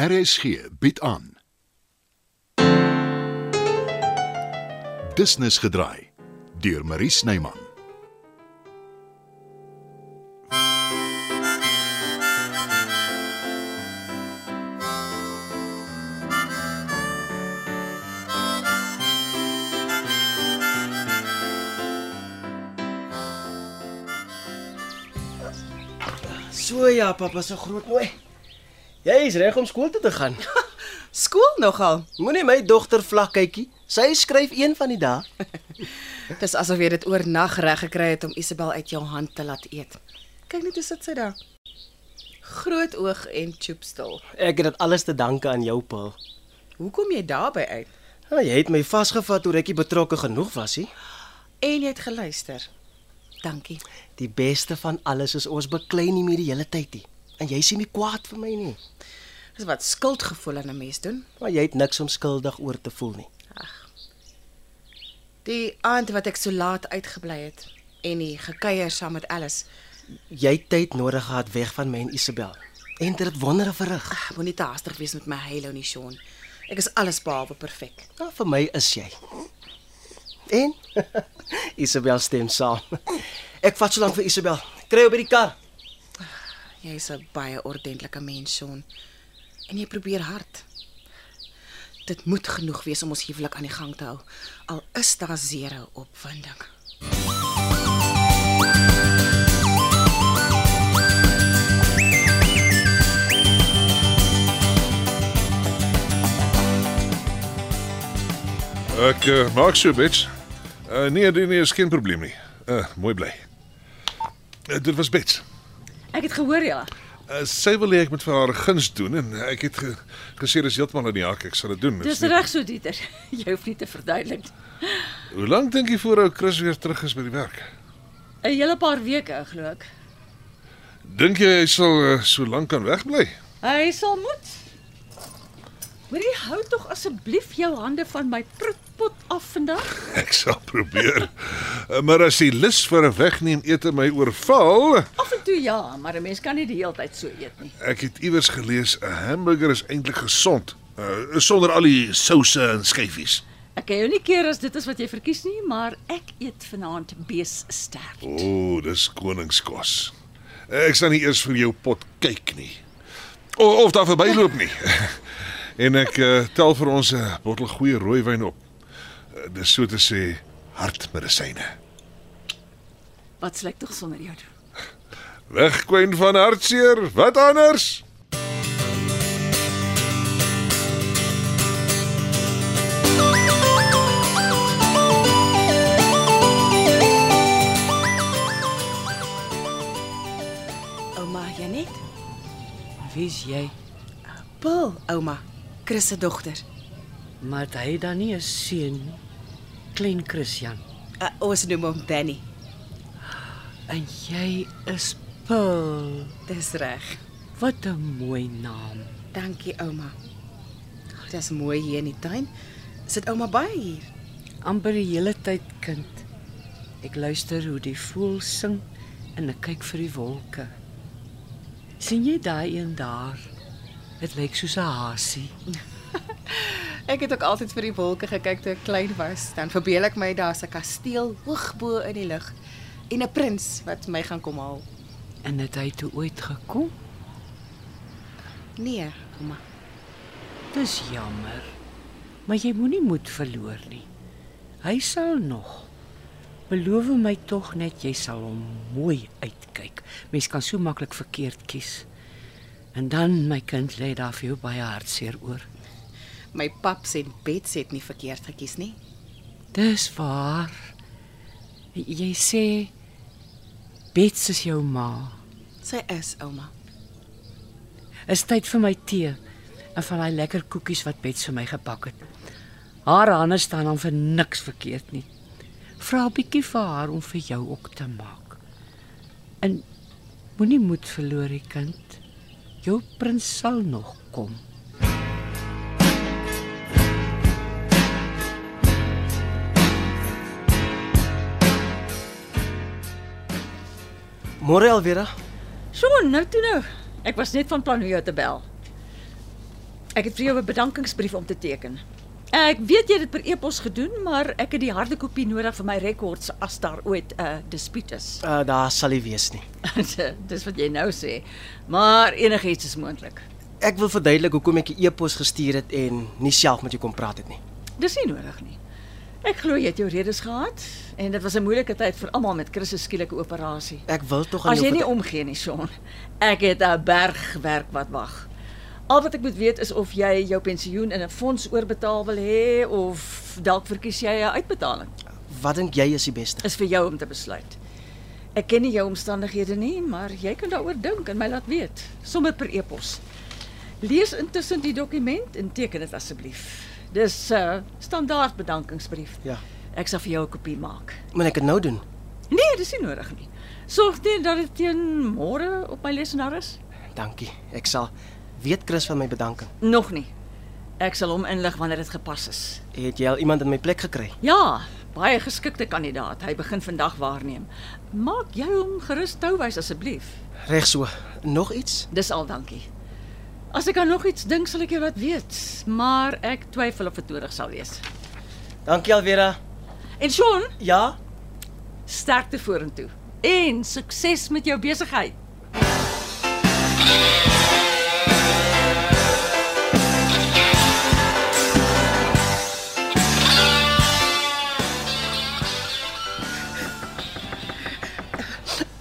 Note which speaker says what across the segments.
Speaker 1: RSG bied aan. Business gedraai deur Marie Snyman.
Speaker 2: So ja, pappa se groot nooi. Jy is reg om skool toe te gaan.
Speaker 3: Skool nogal.
Speaker 2: Moenie my dogter vlak kykie. Sy skryf een van die dae.
Speaker 3: Dis asof jy dit oornag reg gekry het om Isabel uit jou hand te laat eet. Kyk net hoe sit sy daar. Groot oog en choopstil.
Speaker 2: Ek het dit alles te danke aan jou, Paul.
Speaker 3: Hoe kom jy daarby uit?
Speaker 2: Nou, jy het my vasgevat toe ek nie betrokke genoeg was nie.
Speaker 3: En jy het geluister. Dankie.
Speaker 2: Die beste van alles is ons beklei nie meer die hele tyd nie. En jy sien nie kwaad vir my nie.
Speaker 3: Dis wat skuldgevoel aan 'n mens doen.
Speaker 2: Maar jy het niks om skuldig oor te voel nie.
Speaker 3: Die aand wat ek so laat uitgebly het en die gekuier saam met Alice.
Speaker 2: Jy het tyd nodig gehad weg van my en Isabel. En dit het wondere verrig.
Speaker 3: Ag, moenie te haastig wees met my heilo nie, Sean. Ek is alles behalwe perfek.
Speaker 2: Nou vir my is jy. En Isabel stem saam. Ek vat so lank vir Isabel. Kry jou by die kar.
Speaker 3: Jy's 'n baie ordentlike mens, Sean. En jy probeer hard. Dit moet genoeg wees om ons huwelik aan die gang te hou, al is daar zero opwinding.
Speaker 4: Ek uh, maak so bets. Uh, nee, nee, nee, is geen probleem nie. Uh, mooi bly. Uh, dit was bets.
Speaker 5: Ek het gehoor ja.
Speaker 4: Uh, sy wil hê ek moet vir haar 'n guns doen en ek het ge gesê dis heeltemal in die hak. Ek sal dit doen.
Speaker 5: Dis
Speaker 4: nie-
Speaker 5: reg so Dieter. Jy hoef nie te verduidelik.
Speaker 4: Hoe lank dink jy voor ou Chris weer terug is by die werk?
Speaker 5: 'n Hele paar weke, glo ek.
Speaker 4: Dink jy hy sal uh, so lank kan wegbly?
Speaker 5: Hy sal moet. Hoorie, hou tog asseblief jou hande van my prutpot af vandag.
Speaker 4: Ek sal probeer. uh, maar as die lus vir 'n wegneem ete my oorval,
Speaker 5: Af en toe ja, maar 'n mens kan nie die hele tyd so eet nie.
Speaker 4: ek het iewers gelees 'n hamburger is eintlik gesond uh, sonder al die souse en skyfies.
Speaker 5: Ek kan jou nie keer as dit is wat jy verkies nie, maar ek eet vanaand beessterk.
Speaker 4: O, oh, dis koningskos. Ek staan nie eers vir jou pot kyk nie. O, of daar verbyloop nie. en ek uh, tel vir ons 'n bottel goeie rooiwyn op. Uh, dis so te sê hartmedisyne.
Speaker 5: Wat sal ek tog sonder jou doen?
Speaker 4: Wegkwyn van hartseer, wat anders?
Speaker 3: Ouma Janet,
Speaker 6: Wie's jy?
Speaker 3: Paul, ouma, Chris se dogter.
Speaker 6: Maar het hy dan nie 'n seun nie. Klein Christian.
Speaker 3: Uh, ons noem hom Danny.
Speaker 6: En jy is Paul.
Speaker 3: Dis reg.
Speaker 6: Wat 'n mooi naam.
Speaker 3: Dankie, ouma. Dis mooi hier in die tuin. Sit ouma baie hier.
Speaker 6: Amper die hele tyd kind. Ek luister hoe die voël sing en ek kyk vir die wolke. sien jy daai een daar? Dit lyk soos 'n hasie.
Speaker 3: Ek het ook altyd vir die wolke gekyk toe ek klein was. Dan verbeel ek my daar's 'n kasteel hoog bo in die lug en 'n prins wat my gaan kom haal.
Speaker 6: En het hy toe ooit gekom?
Speaker 3: Nee, ouma.
Speaker 6: Dis jammer. Maar jy moenie moed verloor nie. Hy sal nog. Beloof my tog net jy sal hom mooi uitkyk. Mens kan so maklik verkeerd kies. En dan my kind lê daar vir jou baie hartseer oor.
Speaker 3: My paps en Bets het nie verkeerd gekies nie.
Speaker 6: Dis waar. Jy sê Bets is jou ma.
Speaker 3: Sy is ouma.
Speaker 6: Is tyd vir my tee en van daai lekker koekies wat Bets vir my gebak het. Haar hande staan dan vir niks verkeerd nie. Vra 'n bietjie vir haar om vir jou ook te maak. En moenie moed verloor, die kind. Jou prins sal nog kom.
Speaker 2: Môre alweer.
Speaker 5: Sjoe, nou toe nou. Ek was net van plan om jou te bel. Ek het vir jou 'n bedankingsbrief om te teken. Ek weet jy het dit per e-pos gedoen, maar ek het die harde kopie nodig vir my rekords as daar ooit 'n dispuut is.
Speaker 2: Uh, daar sal nie wees nie.
Speaker 5: Dis wat jy nou sê. Maar enigiets is moontlik.
Speaker 2: Ek wil verduidelik hoekom ek 'n e-pos gestuur het en nie self met jou kom praat het nie.
Speaker 5: Dis nie nodig nie. Ek glo jy het jou redes gehad en dit was 'n moeilike tyd vir almal met Chris se skielike operasie.
Speaker 2: Ek wil tog aan
Speaker 5: As jy
Speaker 2: jou
Speaker 5: nie
Speaker 2: verdu-
Speaker 5: omgee nie, Sean. Ek het 'n berg werk wat wag. Al wat ek moet weet is of jy jou pensioen in 'n fonds oorbetaal wil hê of dalk verkies jy 'n uitbetaling.
Speaker 2: Wat dink jy is die beste?
Speaker 5: Is vir jou om te besluit. Ek ken nie jou omstandighede nie, maar jy kan daaroor dink en my laat weet, sommer per e-pos. Lees intussen die dokument en teken dit asseblief. Dis 'n uh, standaard bedankingsbrief.
Speaker 2: Ja.
Speaker 5: Ek sal vir jou 'n kopie maak.
Speaker 2: Moet ek dit nou doen?
Speaker 5: Nee, dis nie nodig nie. Sorg net dat dit teen môre op my lesenaar is.
Speaker 2: Dankie. Ek sal weet Chris van my bedanking.
Speaker 5: Nog nie. Ek sal hom inlig wanneer dit gepas is.
Speaker 2: Het jy al iemand in my plek gekry?
Speaker 5: Ja, baie geskikte kandidaat. Hy begin vandag waarneem. Maak jy hom gerus touwys asseblief.
Speaker 2: Reg so. Nog iets?
Speaker 5: Dis al, dankie. As ek aan nog iets dink, sal ek jou laat weet, maar ek twyfel of dit nodig sal wees.
Speaker 2: Dankie Alvera.
Speaker 5: En Sean,
Speaker 2: Ja.
Speaker 5: sterkte vorentoe en sukses met jou besigheid.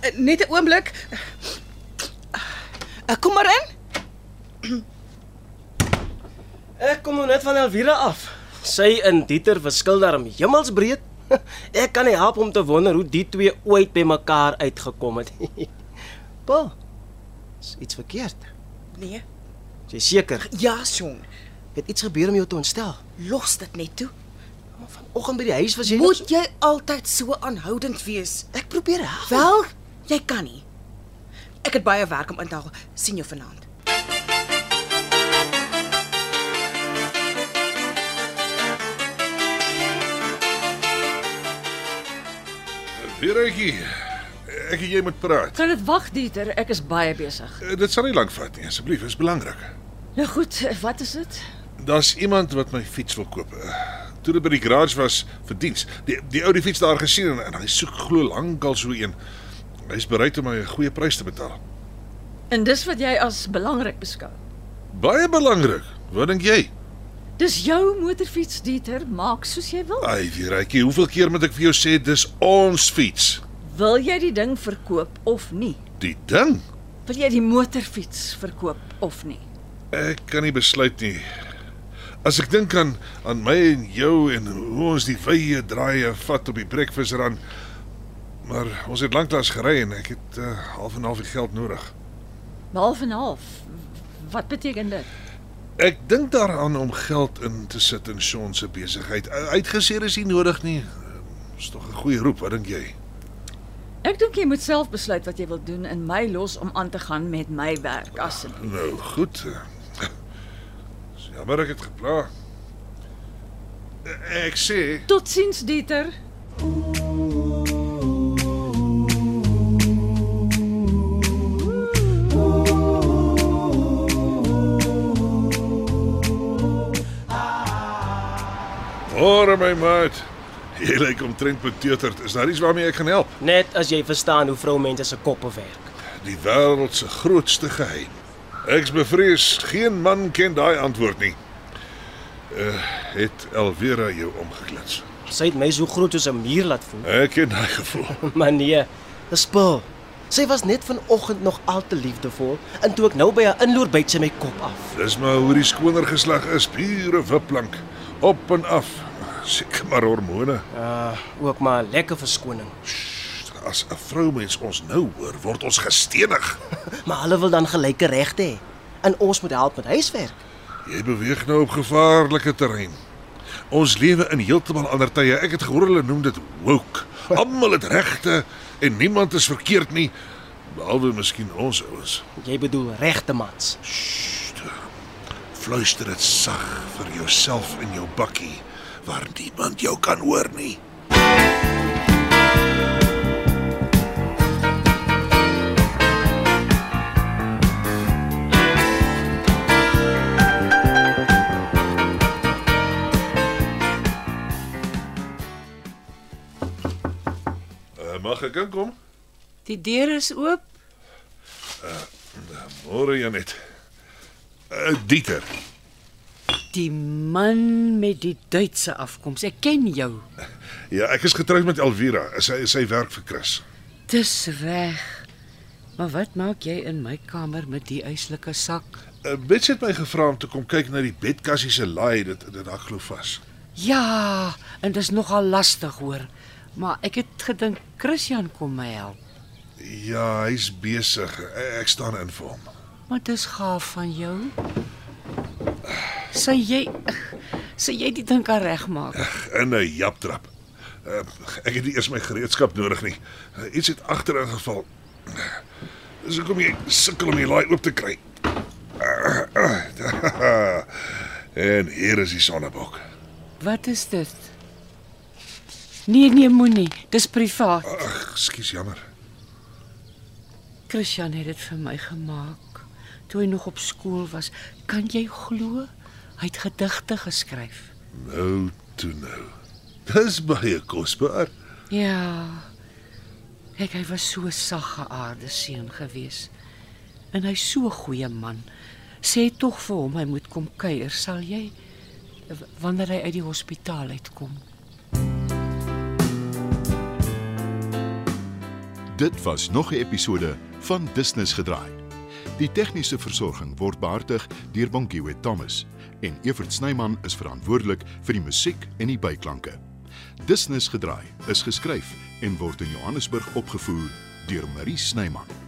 Speaker 3: Eh, Net 'n oomblik. Eh, Kom maar in.
Speaker 2: Ek kom nou net van Alvera af. Sy en Dieter verskil daarom hemelsbreed. Ek kan nie help om te wonder hoe die twee ooit by mekaar uitgekom het. Pa. Is iets verkeerd?
Speaker 3: Nee.
Speaker 2: Is Jy seker?
Speaker 3: Ja, Sean.
Speaker 2: Het iets gebeur om jou te ontstel?
Speaker 3: Los dit net toe.
Speaker 2: Maar vanoggend by die huis was jy nog
Speaker 3: Moet jy altyd so aanhoudend wees?
Speaker 2: so- Ek probeer help.
Speaker 3: Wel, jy kan nie. Ek het baie werk om in te haal. sien jou vanaand.
Speaker 4: Weeretjie. Ek en jy moet praat.
Speaker 5: Kan dit wag, Dieter? Ek is baie besig.
Speaker 4: Eh, Dit sal nie lank vat nie, asseblief, dit is belangrik.
Speaker 5: Nou goed, wat is dit?
Speaker 4: Daar's iemand wat my fiets wil koop. Eh, Toe dit by die garage was vir diens. Die die ou die fiets daar gesien en, en hy soek glo lankal so een. Hy's bereid om my 'n goeie prys te betaal.
Speaker 5: En dis wat jy as belangrik beskou.
Speaker 4: Baie belangrik. Wat dink jy?
Speaker 5: Dis jou motorfiets Dieter, maak soos jy wil.
Speaker 4: Ai, Weeretjie, hoeveel keer moet ek vir jou sê dis ons fiets?
Speaker 5: Wil jy die ding verkoop of nie?
Speaker 4: Die ding.
Speaker 5: Wil jy die motorfiets verkoop of nie?
Speaker 4: Ek kan nie besluit nie. As ek dink aan aan my en jou en hoe ons die wye draaie vat op die breakfast run. Maar ons het lanklaas gery en ek het uh, half en half die geld nodig.
Speaker 5: Half en half. Wat beteken dit?
Speaker 4: Ek dink daaraan om geld in te sit in Sean se besigheid. Uh, Uitgeseer is nie nodig nie. Uh, Is tog 'n goeie roep, wat dink jy?
Speaker 5: Ek dink jy moet self besluit wat jy wil doen en my los om aan te gaan met my werk asseblief.
Speaker 4: Nou, goed. eh, Dis Jammer ek het gepla. Eh, Ek sê
Speaker 5: Totsiens Dieter.
Speaker 4: Hoor my maat. Jy lyk omtrent beteuterd. Is daar iets waarmee ek kan help?
Speaker 2: Net as jy verstaan hoe vroumense se koppe werk.
Speaker 4: Die wêreld se grootste geheim. Ek's bevrees geen man ken daai antwoord nie. Uh, het Elvira jou omgeklits.
Speaker 2: Sy het my so groot soos 'n muur laat voel.
Speaker 4: Ek ken daai gevoel.
Speaker 2: Maar nee, dis spul. Sy was net vanoggend nog al te liefdevol en toe ek nou by haar inloer byt sy my kop af.
Speaker 4: Dis maar hoe die skoner geslag is, pure wipplank, op en af. Seker maar hormone.
Speaker 2: Uh, ook maar 'n lekker verskoning.
Speaker 4: As 'n vroumens ons nou hoor, word ons gestenig.
Speaker 2: Maar hulle wil dan gelyke regte hê. En ons moet help met huiswerk.
Speaker 4: Jy beweeg nou op gevaarlike terrein. Ons lewe in heeltemal ander tye. Ek het gehoor hulle noem dit woke. Almal het regte en niemand is verkeerd nie, behalwe miskien ons ouens.
Speaker 2: Jy bedoel regte mans.
Speaker 4: Fluister dit sag vir jouself in jou bakkie waar niemand jou kan hoor nie. Eh, Mag ek inkom?
Speaker 6: Die deur is oop.
Speaker 4: Môre Janet. Uh, Dieter.
Speaker 6: Die man met die Duitse afkoms. Ek ken jou.
Speaker 4: Ja, ek is getroud met Elvira. Sy sy werk vir Chris.
Speaker 6: Dis reg. Maar wat maak jy in my kamer met die yslike sak?
Speaker 4: Uh, Bets het my gevra om te kom kyk na die bedkassie se laai, dit dit hak glo vas.
Speaker 6: Ja, en dis nogal lastig hoor. Maar ek het gedink Christian kom my help.
Speaker 4: Ja, hy's besig. Ek, ek staan in vir hom.
Speaker 6: Maar dis gaaf van jou. Sê jy sê jy dit dink aan regmaak?
Speaker 4: In 'n japtrap. Uh, ek het nie eers my gereedskap nodig nie. Uh, iets het agterin geval. Dis hoekom jy sukkel om die laai oop te kry. en hier is die sonnebok.
Speaker 6: Wat is dit? Nee, nee, moenie. Dis privaat.
Speaker 4: Ag, skus jammer.
Speaker 6: Christian het dit vir my gemaak toe hy nog op skool was. Kan jy glo? Hy het gedigte geskryf.
Speaker 4: Nou toe nou. Dis baie kosbaar.
Speaker 6: Ja. Kyk, hy was so sagge aarde seun gewees. En hy's so 'n goeie man. Sê tog vir hom hy moet kom kuier, sal jy? W- Wanneer hy uit die hospitaal uitkom.
Speaker 1: Dit was nog 'n episode van Business gedraai. Die tegniese versorging word behartig deur Bonnie Witt Thomas en Evert Snyman is verantwoordelik vir die musiek en die byklanke. Business gedraai is geskryf en word in Johannesburg opgevoer deur Marie Snyman.